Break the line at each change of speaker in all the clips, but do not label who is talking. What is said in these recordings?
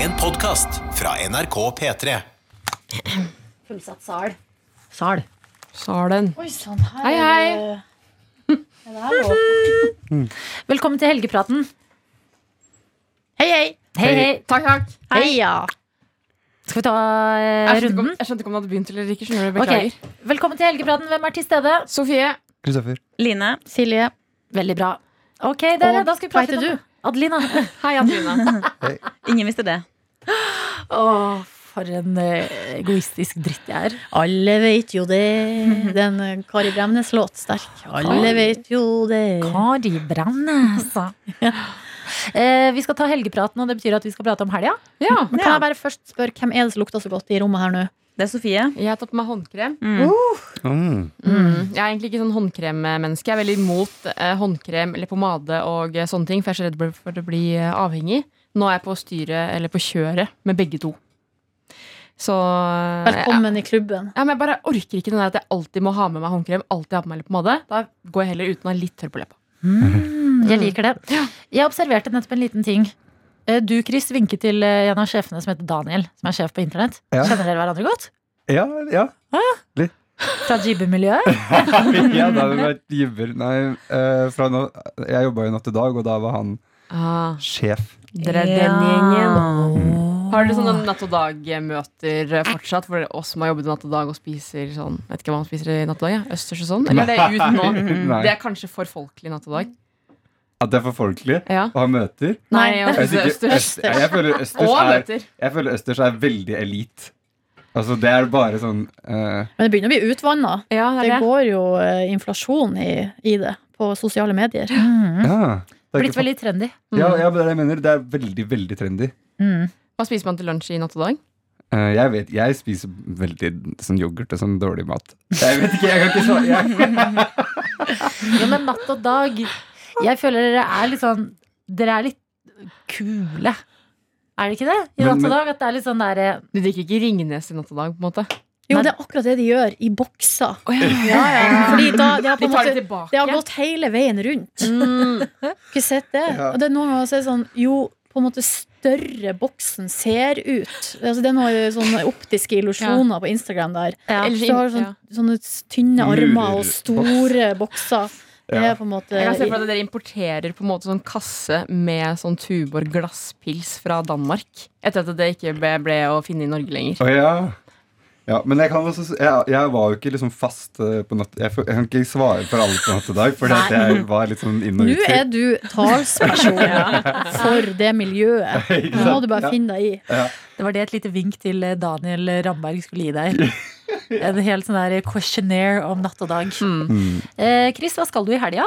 En podcast fra NRK P3.
Fullsatt sal.
Sal. Salen.
Oi sann, her
Hei,
Eh,
hei.
er det her også. Velkommen til helgepraten. Hei, hei.
Hei, hei.
Takk, takk.
Heia. Skal vi ta eh,
Jeg skjønte, ikke om,
runden?
jeg skjønte ikke om du hadde begynt eller ikke. skjønner du,
Ok.
Beklager.
Velkommen til helgepraten. Hvem er til stede?
Sofie,
Kristoffer.
Line.
Silje.
Veldig bra. Ok, dere,
Og
da skal vi
hva
prate
heter
litt om Adelina.
hei, Adelina.
Ingen visste det.
Å, for en eh, egoistisk dritt jeg er.
Alle vet jo det. Den eh, Kari Bremnes-låt sterk. Alle vet jo det.
Kari Bremnes. Eh, vi skal ta helgepraten, og det betyr at vi skal prate om helga.
Ja,
Men kan jeg bare først spørre, hvem er det som lukter så godt i rommet her nå?
Det er Sofie.
jeg tar på meg håndkrem. Uh.
Mm.
Mm.
Jeg er egentlig ikke sånn håndkremmenneske. Jeg er veldig imot eh, håndkrem eller pomade og eh, sånne ting, for jeg er så redd for å bli eh, avhengig. Nå er jeg på styret, eller på kjøret, med begge to. Så eh,
Velkommen i klubben.
Ja, men jeg bare orker ikke den der at jeg alltid må ha med meg håndkrem. Alltid ha på meg litt pomade. Da går jeg heller uten å ha litt tørr på leppa.
Mm, jeg liker det. Jeg observerte nettopp en liten ting. Eh, Du, Chris, vinket til eh, en av sjefene som heter Daniel, som er sjef på internett.
Ja.
Kjenner dere hverandre godt?
Ja, ja.
Fra Jibbe-miljøet?
ja, da hadde vi vært gibber. Nei, eh, fra nå, jeg jobba jo natt til dag, og da var han sjef.
Ah, dere er den gjengen. Har dere sånne natt og dag-møter eh, fortsatt for oss som har jobbet natt og dag og spiser sånn Vet ikke hva man spiser i natt og dag? Ja. Østers og sånn? Eller er det ut nå?
Nei.
Mhm. Det er kanskje for folkelig natt og dag.
At det er for folkelig
Ja.
å ha møter.
Nei, å
Jeg,
spise
synes ikke-
østers.
Øst- jeg, føler østers
Og
er,
møter.
jeg føler østers er veldig elit. Altså, det er bare sånn eh,
Men det begynner å bli utvanna.
Ja, det
Det
er det.
går jo eh, inflasjon i, i det på sosiale medier.
Mhm.
Ja. Det er
Blitt
ikke for,
veldig trendy.
ja, ja, men det er det jeg mener. Det er veldig, veldig trendy.
Mm.
Hva spiser man til lunsj i natt og dag?
Eh, jeg vet, jeg spiser veldig sånn yoghurt og sånn dårlig mat. Jeg vet ikke, jeg kan ikke svare. Jeg,
Ja, men natt og dag Jeg føler dere er litt sånn Dere er litt kule. Er det ikke det? I
Men-
natt
men-
og dag. At det er litt sånn derre
Du drikker ikke Ringnes i natt og dag, på en måte?
Jo, det er akkurat det de gjør i bokser.
Ja, ja.
Fordi da, de har
De
på en
tar det
måte
tilbake. Mm.
Det har gått hele veien rundt. Ikke sett det? Og det er noen ganger så er det sånn Jo, på en måte større boksen ser ut. Altså, det er noen sånne optiske illusjoner på Instagram der.
ja.
Eller-
Så har du sånn,
Ja.
sånne tynne armer
Lurer.
og store bokser. Det
Ja.
er på en måte
Jeg kan se for meg at dere importerer på en måte sånn kasse med sånn Tuborg glasspils fra Danmark. Etter at det ikke ble, ble å finne i Norge lenger.
Å ja. ja. Men jeg kan også s- jeg, jeg var jo ikke liksom fast eh, på natt Jeg, får- jeg kan ikke svare for alle på natt i dag, fordi at jeg var litt sånn inn og
Nå
ut.
er du talsperson for det miljøet.
Ikke
Nå må
sant?
du bare
Ja.
finne deg i.
Det var det et lite vink til eh, Daniel Ramberg skulle gi deg. En helt sånn der questionnaire om natt og dag.
Mm.
Eh, Chris, hva skal du i helga?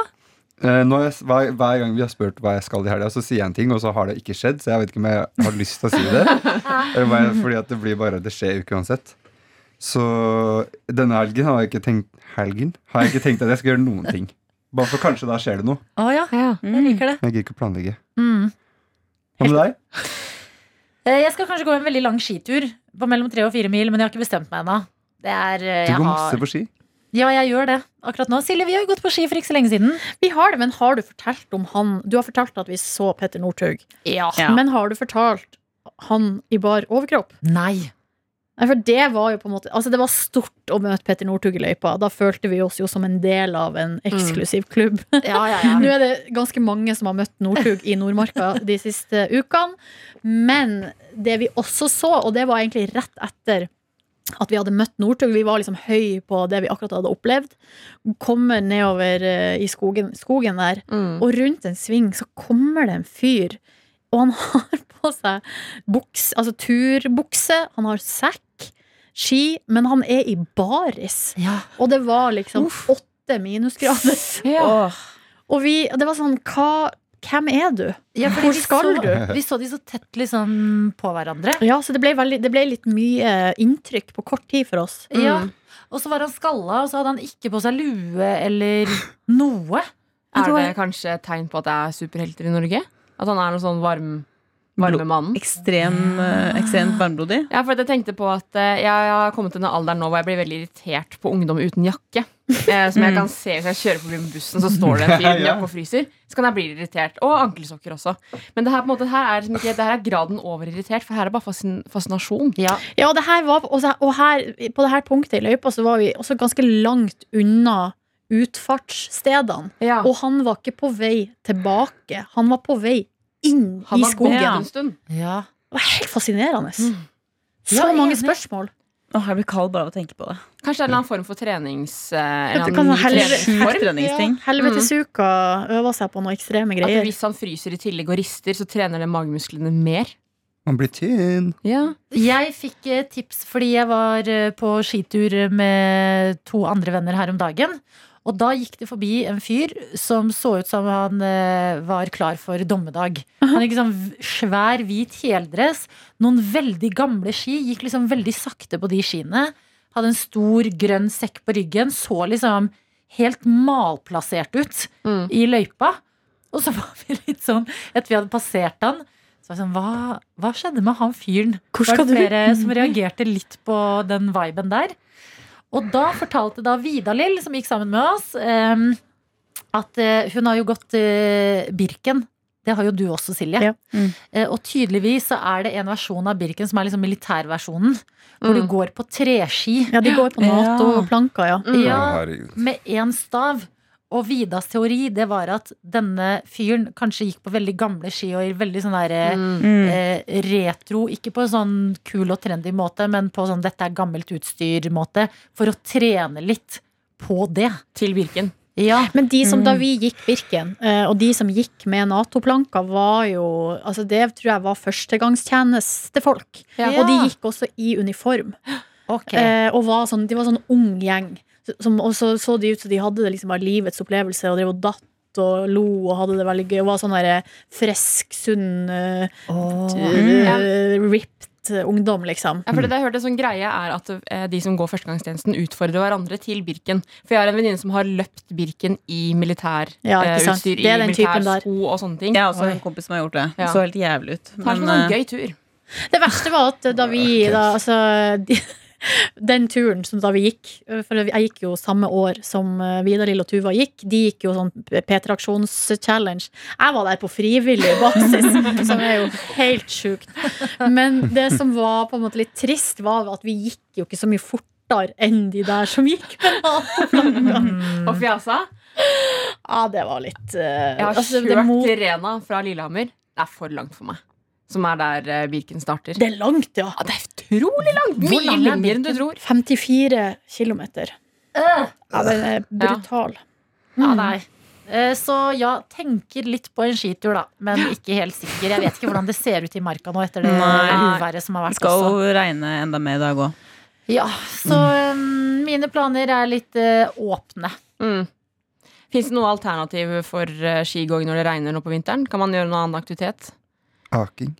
Eh, nå har jeg, s- hver, hver gang vi har spurt hva jeg skal i helga, så sier jeg en ting, og så har det ikke skjedd. Så jeg vet ikke om jeg har lyst til å si det. Eller bare, fordi at det blir bare Det skjer jo ikke uansett. Så denne helgen har jeg ikke tenkt Helgen? Har jeg ikke tenkt at jeg skal gjøre noen ting. Bare for kanskje da skjer det noe.
Å ja, jeg liker det.
Men jeg gidder ikke å planlegge.
Mm.
Hva med deg?
Eh, Jeg skal kanskje gå en veldig lang skitur på mellom tre og fire mil, men jeg har ikke bestemt meg ennå. Det er, eh,
Du
jeg
går
har...
masse på ski.
Ja, jeg gjør det akkurat nå. Silje, vi har jo gått på ski for ikke så lenge siden.
Vi har det, men har du fortalt om han Du har fortalt at vi så Petter Northug.
Ja.
Ja.
Men har du fortalt han i bar overkropp?
Nei.
Nei, for det var jo på en måte Altså det var stort å møte Petter Northug i løypa. Da følte vi oss jo som en del av en eksklusiv klubb.
Ja, ja,
Nå
ja.
er det ganske mange som har møtt Northug i Nordmarka de siste ukene. Men det vi også så, og det var egentlig rett etter at vi hadde møtt Northug, vi var liksom høy på det vi akkurat hadde opplevd, kommer nedover eh, i skogen, skogen der,
Mm.
og rundt en sving så kommer det en fyr, og han har på seg buks, altså turbukse, han har sekk, ski, men han er i baris.
ja.
Og det var liksom åtte minusgrader.
Åh.
Og vi, det var sånn, hva, hvem er du?
Ja, fordi
Hvor
vi
skal
så,
du?
Vi så de så tett liksom på hverandre.
Ja, så det ble, veldig, det ble litt mye eh, inntrykk på kort tid for oss.
Ja. Og så var han skalla, og så hadde han ikke på seg lue eller noe.
Er det kanskje et tegn på at det er superhelter i Norge? At han er noe sånn varm Varmemannen.
Ekstrem, eh, ekstremt varmblodig.
Ja, for jeg tenkte på at eh, jeg har kommet til den alderen nå hvor jeg blir veldig irritert på ungdom uten jakke. Eh, som jeg
Mm.
kan se hvis jeg kjører forbi med bussen, så står det en fyr med
Ja.
jakke og fryser. Så kan jeg bli irritert. Og ankelsokker også. Men det her, på en måte, her, er, liksom ikke, det her er graden over irritert, for her er bare fasin fascinasjon.
Ja, det her var, og, så- og her, på det her punktet i løypa så var vi også ganske langt unna utfartsstedene.
Ja.
Og han var ikke på vei tilbake. Han var på vei inn
Han
i
var
skogen.
borte en stund.
Ja.
Det var helt fascinerende. Så
Ja,
mange
enig.
spørsmål.
Å, jeg blir kald bare av å tenke på det.
Kanskje det er en eller annen form for trenings... eh,
Det
En eller
kan
annen
være
ny
helvete-
treningsform.
Treningsting.
Ja, Helvetesuka øver seg på noen ekstreme
At
greier.
hvis han fryser i tillegg og rister, så trener det magemusklene mer.
Man blir tynn.
Ja.
Jeg fikk eh, tips fordi jeg var eh, på skitur med to andre venner her om dagen. Og da gikk det forbi en fyr som så ut som han eh, var klar for dommedag. Han gikk sånn v- svær, hvit heldress, noen veldig gamle ski, gikk liksom veldig sakte på de skiene. Hadde en stor, grønn sekk på ryggen, så liksom helt malplassert ut
Mm.
i løypa. Og så var vi litt sånn, etter vi hadde passert han, så var jeg sånn, hva, hva skjedde med han fyren?
Hvor
var
skal
det
du?
flere som reagerte litt på den viben der. Og da fortalte da Vidalill, som gikk sammen med oss, em, at eh, hun har jo gått eh, Birken. Det har jo du også, Silje.
Ja. Mm.
Eh, og tydeligvis så er det en versjon av Birken som er liksom militærversjonen. Hvor du går på treski
Mm. Ja, de går på Nato-planker, ja.
Mm.
Ja.
Å, herregud.
med én stav. Og Vidas teori det var at denne fyren kanskje gikk på veldig gamle ski og i veldig sånn der, eh,
Mm.
Mm.
eh, retro, ikke på en sånn kul og trendy måte, men på sånn 'dette er gammelt utstyr'-måte, for å trene litt på det.
Til Birken.
Ja.
Men de som da
Mm.
vi gikk Birken, eh, og de som gikk med Nato-planker, var jo altså Det tror jeg var førstegangstjenestefolk.
Ja.
Og de gikk også i uniform.
Ok.
Eh, og var sånn, de var sånn ung gjeng. Som, og så så de ut som de hadde det liksom av livets opplevelse, og drev og datt og lo og hadde det veldig gøy. Og var sånn derre frisk, sunn, eh,
Mm.
eh, ripped ungdom, liksom.
Ja, for det jeg hørte sånn greie er at eh, De som går førstegangstjenesten, utfordrer hverandre til Birken. For jeg har en venninne som har løpt Birken i militærutstyr.
Ja, ikke sant. Det er den typen der.
Militærsko og sånne ting.
Jeg har også
Oi.
en kompis som har gjort det.
Ja.
Det så helt jævlig ut.
Tar som en
Men,
sånn
eh,
gøy tur.
Det verste var at da vi da, altså, de, Den turen som da vi gikk For jeg gikk jo samme år som Vidar-Lill og Tuva gikk. De gikk jo sånn Peter Aksjons-challenge. Jeg var der på frivillig basis, som er jo helt sjukt. Men det som var på en måte litt trist, var at vi gikk jo ikke så mye fortere enn de der som gikk.
mm.
Og fjasa.
Ja, det var litt eh,
Jeg har
altså, det,
kjørt
må,
til Rena fra Lillehammer. Det er for langt for meg. Som er der eh, Birken starter.
det er langt, ja.
Ja, det er utrolig langt!
Hvor
Mye
lang er
lenger enn du
Birken?
tror.
54 kilometer. Ja, den er brutal.
Ja,
Mm.
nei. Eh, Så ja, tenker litt på en skitur, da. Men ikke helt sikker. Jeg vet ikke hvordan det ser ut i marka nå etter det
Nei.
uværet som har
det
vært.
skal
også.
jo regne enda mer i dag òg.
Ja, Så
Mm.
eh, mine planer er litt eh, åpne.
Mm. Fins det noe alternativ for eh, skigåing når det regner nå på vinteren? Kan man gjøre noen annen aktivitet?
Aking.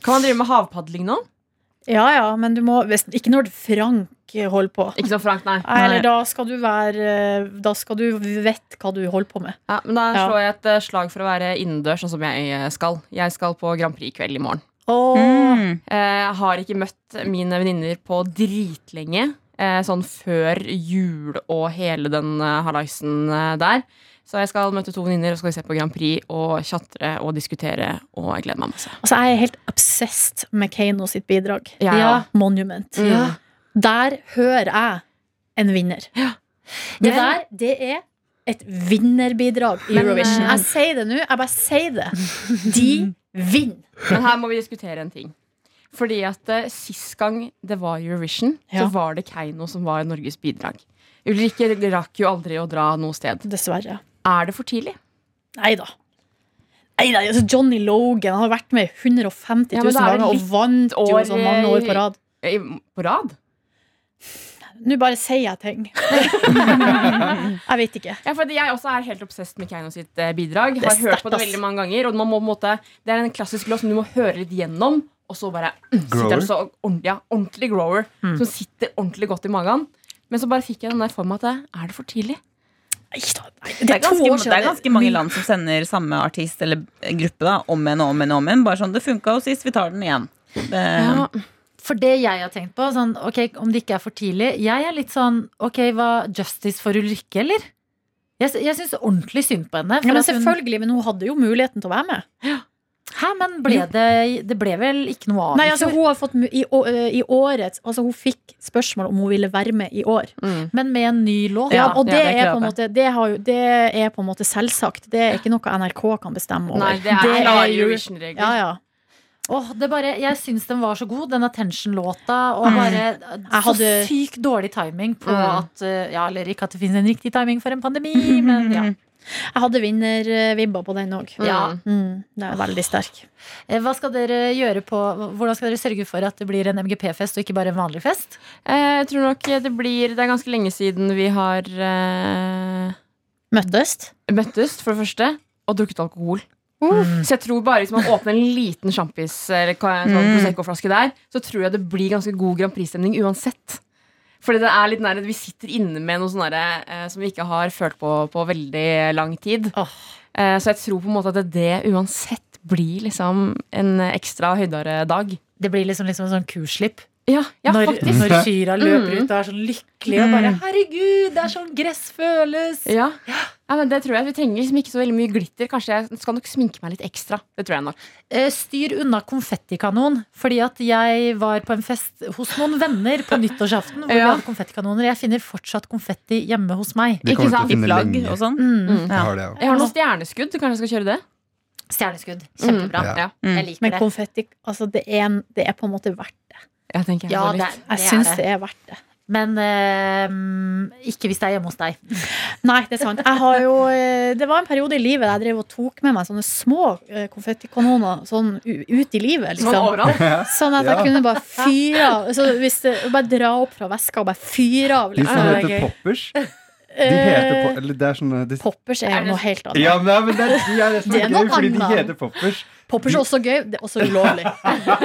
Kan man drive med havpadling nå?
Ja, ja, men du må hvis- Ikke når Frank holder på.
Ikke så frankt, nei.
Nei, Eller da skal du være Da skal du vite hva du holder på med.
Ja, men da
Ja.
slår jeg et eh, slag for å være innendørs, sånn som jeg eh, skal. Jeg skal på Grand Prix i kveld i morgen.
Mm.
Eh, Jeg har ikke møtt mine venninner på dritlenge. eh, Sånn før jul og hele den eh, halaisen eh, der. Så jeg skal møte to venninner og skal se på Grand Prix og tjatre og diskutere. Og jeg gleder meg masse.
Altså, jeg er helt obsessed med Keiino sitt bidrag.
Jeg
Ja.
også.
Monument.
Mm.
Der hører jeg en vinner. Det
Men-
der, det er et vinnerbidrag i Eurovision.
eh,
Jeg sier det nå. Jeg bare sier det. De vinner.
Men her må vi diskutere en ting. Fordi at eh, sist gang det var Eurovision,
Ja.
så var det Keiino som var Norges bidrag. Ulrikke rakk jo aldri å dra noe sted.
Dessverre.
Er det for tidlig?
Nei da. Nei, nei, altså Johnny Logan han har vært med 150
Ja,
000
men da er det
ganger og
litt
vant jo
år,
så mange år på rad.
Eh, På rad?
Nå bare sier jeg ting. jeg vet ikke.
Ja, fordi Jeg også er helt obsessed med Keiino sitt eh, bidrag.
er
Har hørt på
sterkt,
det
ass.
veldig mange ganger. Og man må, på en måte, det er en klassisk låt som du må høre litt gjennom, og så bare mm, sitter
Grower?
den så ordentlig, ja, ordentlig
Mm.
grower. Som sitter ordentlig godt i magen. Men så bare fikk jeg den der for meg at eh, er det for tidlig?
Nei, da, nei,
Det er, ganske,
to år siden.
det er ganske mange land som sender samme artist eller gruppe da, om igjen og om igjen. og om igjen. Bare sånn, det funka jo sist, vi tar den igjen. Det,
Ja.
For det jeg har tenkt på, sånn, ok, om det ikke er for tidlig Jeg er litt sånn Ok, var Justice for Ulrikke, eller? Jeg, sy- jeg syns ordentlig synd på henne. for
Ja, men
at hun-
selvfølgelig, men hun hadde jo muligheten til å være med.
Hæ, men ble det, det ble vel ikke noe av
Nei,
i
altså
fjor?
hun har fått mu- i, å- ø, i årets Altså hun fikk spørsmål om hun ville være med i år.
Mm.
Men med en ny låt?
Ja,
Ja,
og
ja,
det,
det er
er på en
klart.
måte, det, har jo, det er på en måte selvsagt. Det er ikke noe NRK kan bestemme over.
Nei, det er,
Det er
klare
jo-
Eurovision-regler.
Ja, ja.
Åh, det bare, jeg syns den var så god, den attention-låta. Og
Mm.
bare så
hadde-
sykt dårlig timing på
Mm.
at eh, Ja, eller ikke at det finnes en riktig timing for en pandemi, men ja.
Jeg hadde vinnervibba på den òg.
Mm.
Ja.
Mm, det er veldig sterk.
Eh, Hva skal dere gjøre på Hvordan skal dere sørge for at det blir en MGP-fest og ikke bare en vanlig fest?
Eh, Jeg tror nok det blir Det er ganske lenge siden vi har eh,
Møttes.
møttes, for det første, og drukket alkohol. Så jeg tror bare hvis man åpner en liten sjampis eller ka- en sånn
Mm.
Prosecco-flaske der, så tror jeg det blir ganske god Grand Prix-stemning uansett. Fordi det er litt nær at vi sitter inne med noe sånn derre, eh, som vi ikke har følt på på veldig lang tid.
Åh.
Eh, så jeg tror på en måte at det, det uansett blir liksom en ekstra høydere dag.
Det blir liksom, liksom en sånn kuslipp.
Ja, ja
når,
faktisk.
når Kyra løper
Mm.
ut og er sånn lykkelig og bare
Mm.
'Herregud, det er sånn gress føles'.
Ja. ja, men det tror jeg. Vi trenger liksom ikke så veldig mye glitter. Kanskje jeg skal nok sminke meg litt ekstra. Det tror jeg nok.
Eh, Styr unna konfettikanon. Fordi at jeg var på en fest hos noen venner på nyttårsaften. Hvor vi
Ja.
hadde konfettikanoner Jeg finner fortsatt konfetti hjemme hos meg.
De
Ikke
kommer
sant?
til å
I
finne
flagg
lenge.
og sånn.
Mm.
Jeg
Ja.
har det, ja.
Jeg har noen stjerneskudd. Kanskje jeg skal kjøre det?
Stjerneskudd.
Mm.
Kjempebra.
Ja.
Mm.
Jeg liker
Men
det.
konfetti altså det, er en, det er på en måte verdt det.
Jeg tenker jeg
Ja,
må
det,
litt.
det
Jeg syns
er det.
det er verdt det.
Men eh, ikke hvis det er hjemme hos deg.
Nei, det er sant. Jeg har jo, eh, det var en periode i livet der jeg drev og tok med meg sånne små eh, konfettikanoner sånn u- ut i livet.
Sånn
Liksom.
overalt.
Sånn at jeg
Ja.
kunne bare fyre av. Så hvis det, bare dra opp fra veska og bare fyre av.
De som
Liksom.
heter Poppers, de heter
Eh,
po eller det er sånne de,
Poppers er
Er
jo
det-
noe helt annet.
Ja, men, nei, men det, er- de er det som
Det
er
er
gøy,
noe
fordi de
annet.
heter Poppers.
Poppers er også gøy, det er også ulovlig.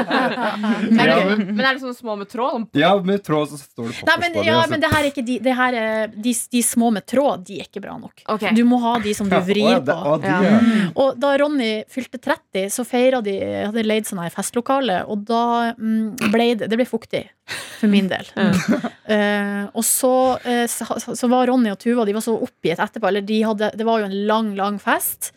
Er
Ja,
det,
men,
men er det sånne små med tråd? Sånn-
ja, med tråd så står det Poppers
Nei, men,
på det.
ja,
altså.
men det her er ikke de, det her er, de, de små med tråd, de er ikke bra nok.
Ok.
Du må ha de som du
Ja, å, ja,
vrir
det-
på.
å, de,
Ja.
ja.
Og da Ronny fylte 30, så feira de Hadde leid sånn her festlokale, og da mm, ble det Det ble fuktig. For min del. Eh, og så, eh, så, så var Ronny og Tuva De var så oppgitt etterpå. Eller de hadde, det var jo en lang, lang fest.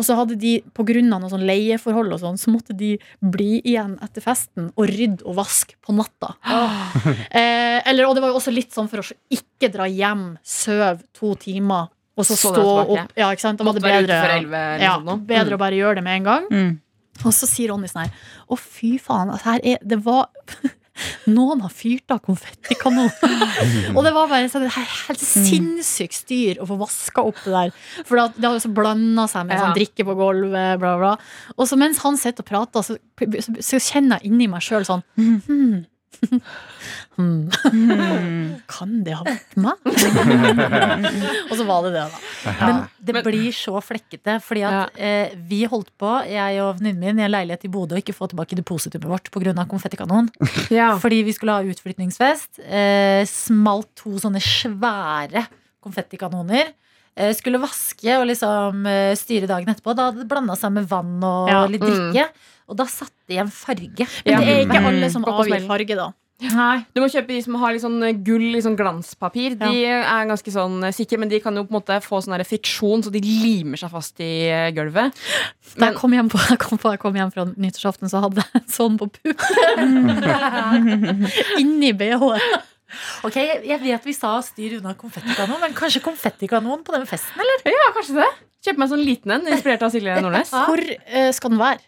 Og så hadde de, pga. noe sånn leieforhold og sånn, så måtte de bli igjen etter festen og rydde og vaske på natta. Eh, eller, og det var jo også litt sånn for å s- ikke dra hjem, sove to timer, og så,
Så dra
stå
tilbake.
opp. Ja, ikke sant? Da var
Måtte
det
være ute
bedre.
før 11 eller
ja,
sånn nå.
bedre å bare gjøre det med en gang.
Mm.
Og så sier Ronny sånn her Å, fy faen. Altså, her er, det var Noen har fyrt av konfettikanon. og det var bare sånn det her helt
Mm.
sinnssykt styr å få vaska opp det der. For det, det har jo så blanda seg med
Ja.
sånn drikke på gulvet, bla, bla. Og så mens han sitter og prater, så, så, så kjenner jeg inni meg sjøl sånn hmm. Hmm.
Hmm.
Kan det ha vært meg? og så var det det, da.
Men det blir så flekkete. Fordi at eh, vi holdt på, jeg og venninnen min, i en leilighet i Bodø, å ikke få tilbake depositumet vårt pga. konfettikanon.
Ja.
Fordi vi skulle ha utflytningsfest. Eh, smalt to sånne svære konfettikanoner. Eh, skulle vaske og liksom eh, styre dagen etterpå. Da hadde det blanda seg med vann og
Ja. mm.
litt drikke. Og da satt det igjen farge.
Ja.
Men det er ikke
Mm.
alle som
Gå på
avgir
smell.
farge, da.
Nei.
Du må kjøpe de som har litt sånn gull i sånn glanspapir. De er ganske sånn sikre, men de kan jo på en måte få sånn der friksjon, så de limer seg fast i eh, gulvet.
Da
Men-
jeg kom hjem, på, jeg kom på, jeg kom hjem fra nyttårsaften, så hadde jeg en sånn på puppen. Inni BH-en.
Ok, Jeg vet vi sa styr unna konfettikanon, men kanskje konfettikanon på den festen, eller?
Ja, kanskje det. Kjøpe meg en sånn liten en, inspirert av Silje Nordnes.
Ah.
Hvor eh, skal den være?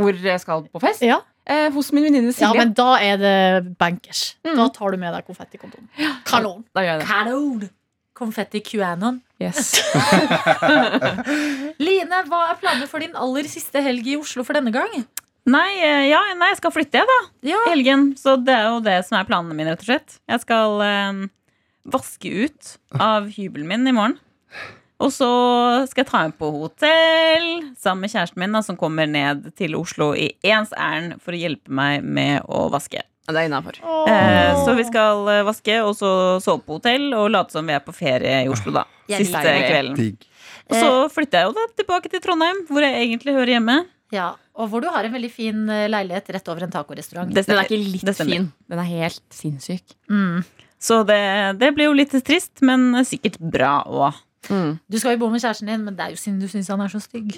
Hvor jeg skal på fest.
Ja.
Eh, hos min venninne Silje.
Ja, men da er det bankers.
Mm.
Mhm.
Da tar du med deg konfettikondoen. Kanon.
Da gjør jeg det.
Kanon! Konfetti QAnon.
Yes.
Line, hva er planene for din aller siste helg i Oslo for denne gang?
Nei, eh, ja, nei, jeg skal flytte, jeg, da.
Ja.
I helgen. Så det er jo det som er planene mine, rett og slett. Jeg skal eh, vaske ut av hybelen min i morgen. Og så skal jeg ta henne på hotell sammen med kjæresten min, da, som kommer ned til Oslo i ens ærend for å hjelpe meg med å vaske.
Det er innafor.
Eh, så vi skal eh, vaske, og så sove på hotell og late som vi er på ferie i Oslo, da.
Jeg
Siste
liker det.
kvelden.
Digg.
Og så flytter jeg jo da tilbake til Trondheim, hvor jeg egentlig hører hjemme.
Ja, og hvor du har en veldig fin eh, leilighet rett over en tacorestaurant.
Det
Den er
stemmer.
ikke litt
Det stemmer.
fin. Den er helt sinnssyk.
Mm.
Så det, det blir jo litt trist, men sikkert bra òg.
Du skal jo bo med kjæresten din, men det er jo siden du syns han er så stygg.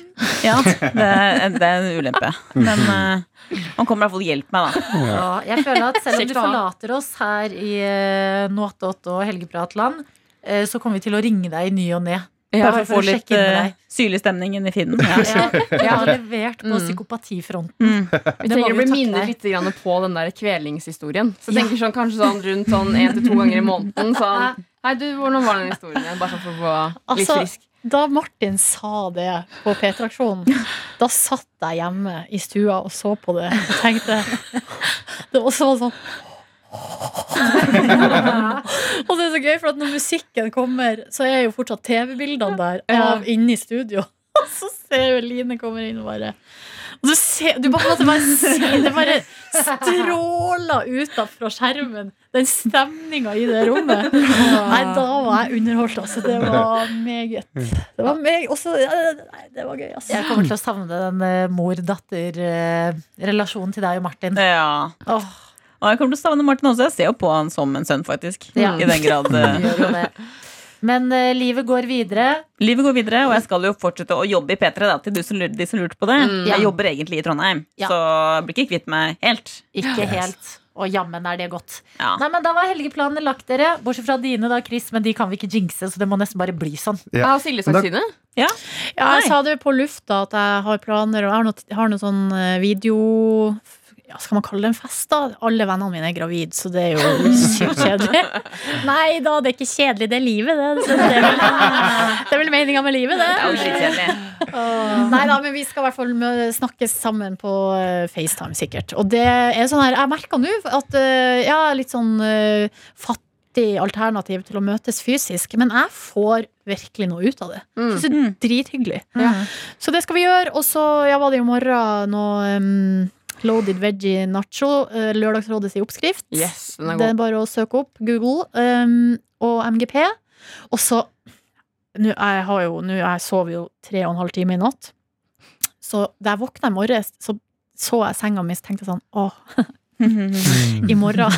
Ja, det, er- det er en ulempe. Men eh, han kommer i hvert fall og hjelper meg, da.
Ja, jeg føler at selv om
Kjekt
du
å ha.
forlater oss her i eh, Noatot og Helgepratland, eh, så kommer vi til å ringe deg i ny og ne.
Ja,
Bare
for å få
for å
litt
sjekke inn med
eh,
deg.
syrlig stemning inn i finnen. Ja.
Ja, jeg har levert på
Mm.
psykopatifronten.
Mm.
Vi
Det må
trenger å
vi
bli
takke
minnet
deg.
litt grann på den der kvelingshistorien. Så jeg
Ja.
tenker sånn, Kanskje sånn rundt sånn én til to ganger i måneden. Sånn, Hei, du, hvordan var den historien igjen? Bare sånn for å få litt
Altså,
frisk.
Da Martin sa det på P3-aksjonen, da satt jeg hjemme i stua og så på det og tenkte Det var så sånn Og det er så gøy, for at når musikken kommer, så er jo fortsatt TV-bildene der av inne i studio. Og så ser jo Line kommer inn og bare og du, ser, du bare, på en måte bare ser Det bare stråler ut av fra skjermen, den stemninga i det rommet. Nei, da var jeg underholdt, altså. Det var meget. Det var meg også ja, Nei, det var gøy, altså.
Jeg kommer til å savne den eh, mor-datter-relasjonen til deg og Martin.
Ja.
Åh,
Og jeg kommer til å savne Martin også. Jeg ser jo på han som en sønn, faktisk.
Ja.
I den grad
du
eh,
gjør jo det. Men eh, livet går videre.
Livet går videre, og jeg skal jo fortsette å jobbe i P3, da, til du som lurer, de som lurte på det.
Mm.
Jeg jobber egentlig i Trondheim,
Ja.
så jeg blir ikke kvitt meg helt.
Ikke helt. Og jammen er det godt.
Ja.
Nei, men Da var helgeplanene lagt, dere. Bortsett fra dine, da, Chris. Men de kan vi ikke jinxe, så det må nesten bare bli sånn.
Ja.
Jeg har Silje sagt sine.
Ja, jeg
Nei.
sa det jo på lufta at jeg har planer, og jeg har noe, har noe sånn eh, video ja, Skal man kalle det en fest, da? Alle vennene mine er gravide, så det er jo sykt kjedelig. Nei da, det er ikke kjedelig. Det er livet, det. Så det er vel, det er vel meninga med livet,
Det er jo
det.
skitkjedelig.
Nei da, men vi skal i hvert fall mø- snakkes sammen på eh, FaceTime, sikkert. Og det er sånn her Jeg merker nå at eh, jeg er litt sånn eh, fattig alternativ til å møtes fysisk, men jeg får virkelig noe ut av det.
Mm.
Synes det er drithyggelig.
Ja.
Så det skal vi gjøre. Og så ja, var det jo i morgen noe em, loaded veggie nacho. eh, Lørdagsrådets i oppskrift.
Yes, den er
Det
god.
er bare å søke opp Google em, og MGP. Og så Nå jeg har jo, nå jeg sover jo tre og en halv time i natt. Så da jeg våkna i morges, så så jeg senga mi og tenkte jeg sånn Åh, i morgen i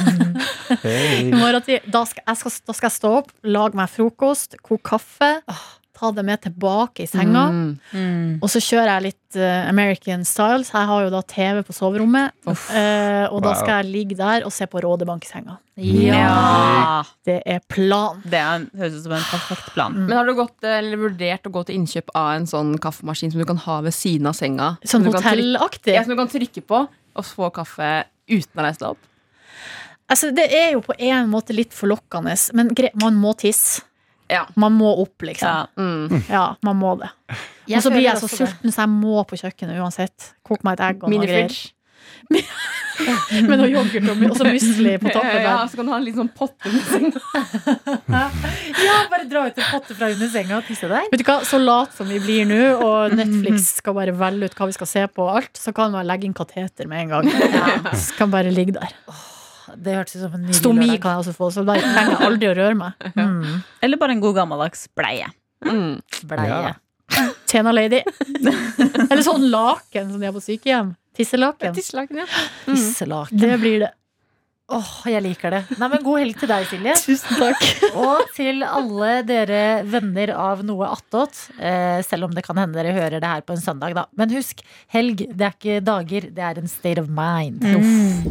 Hei.
morgen tid, da, skal, jeg skal, da skal jeg stå opp, lage meg frokost, koke kaffe, ta det med tilbake i senga.
Mm.
Og så kjører jeg litt eh, American style, så jeg har jo da TV på soverommet. eh, og da
Wow.
skal jeg ligge der og se på Rådebank i senga.
Ja.
Det er planen.
Ah, Det er- høres ut som en perfekt plan.
Men har du gått, eh, eller vurdert å gå til innkjøp av en sånn kaffemaskin som du kan ha ved siden av senga?
Sånn
som du kan trykke-
hotellaktig.
Ja, som du kan trykke på og få kaffe uten å reise deg opp.
Altså, det er jo på en måte litt forlokkende, men gre man må tisse.
Ja.
Man må opp, liksom.
Ja.
Mm.
Ja, man må det. Og så
føler
blir jeg så
også det.
sulten, så jeg må på kjøkkenet uansett. Koke meg et egg og noe greier.
Minifridge.
Med noe yoghurt og og så musli på toppen
Ja,
der.
så kan du ha en liten sånn potte under senga.
Ja, bare dra ut en potte fra under senga og tisse der.
Vet du hva, Så lat som vi blir nå,
Mm.
og Netflix skal bare velge ut hva vi skal se på, og alt, så kan man legge inn kateter med en gang. Så kan bare ligge der.
Det hørtes ut som en nydelig
Stomi
lørdag.
kan jeg også få, så bare trenger jeg aldri å røre meg.
Mm,
Eller bare en god gammeldags bleie.
Mm.
bleie.
Ja.
Tjena lady. Eller sånn laken som de har på sykehjem. Tisselaken.
Tisselaken, ja.
Mm. Tisselak.
Det blir det.
Åh, jeg liker det. Nei, men God helg til deg, Silje.
Tusen takk.
Og til alle dere venner av noe attåt. Eh, selv om det kan hende dere hører det her på en søndag, da. Men husk, helg det er ikke dager, det er en state of mind.
Mm.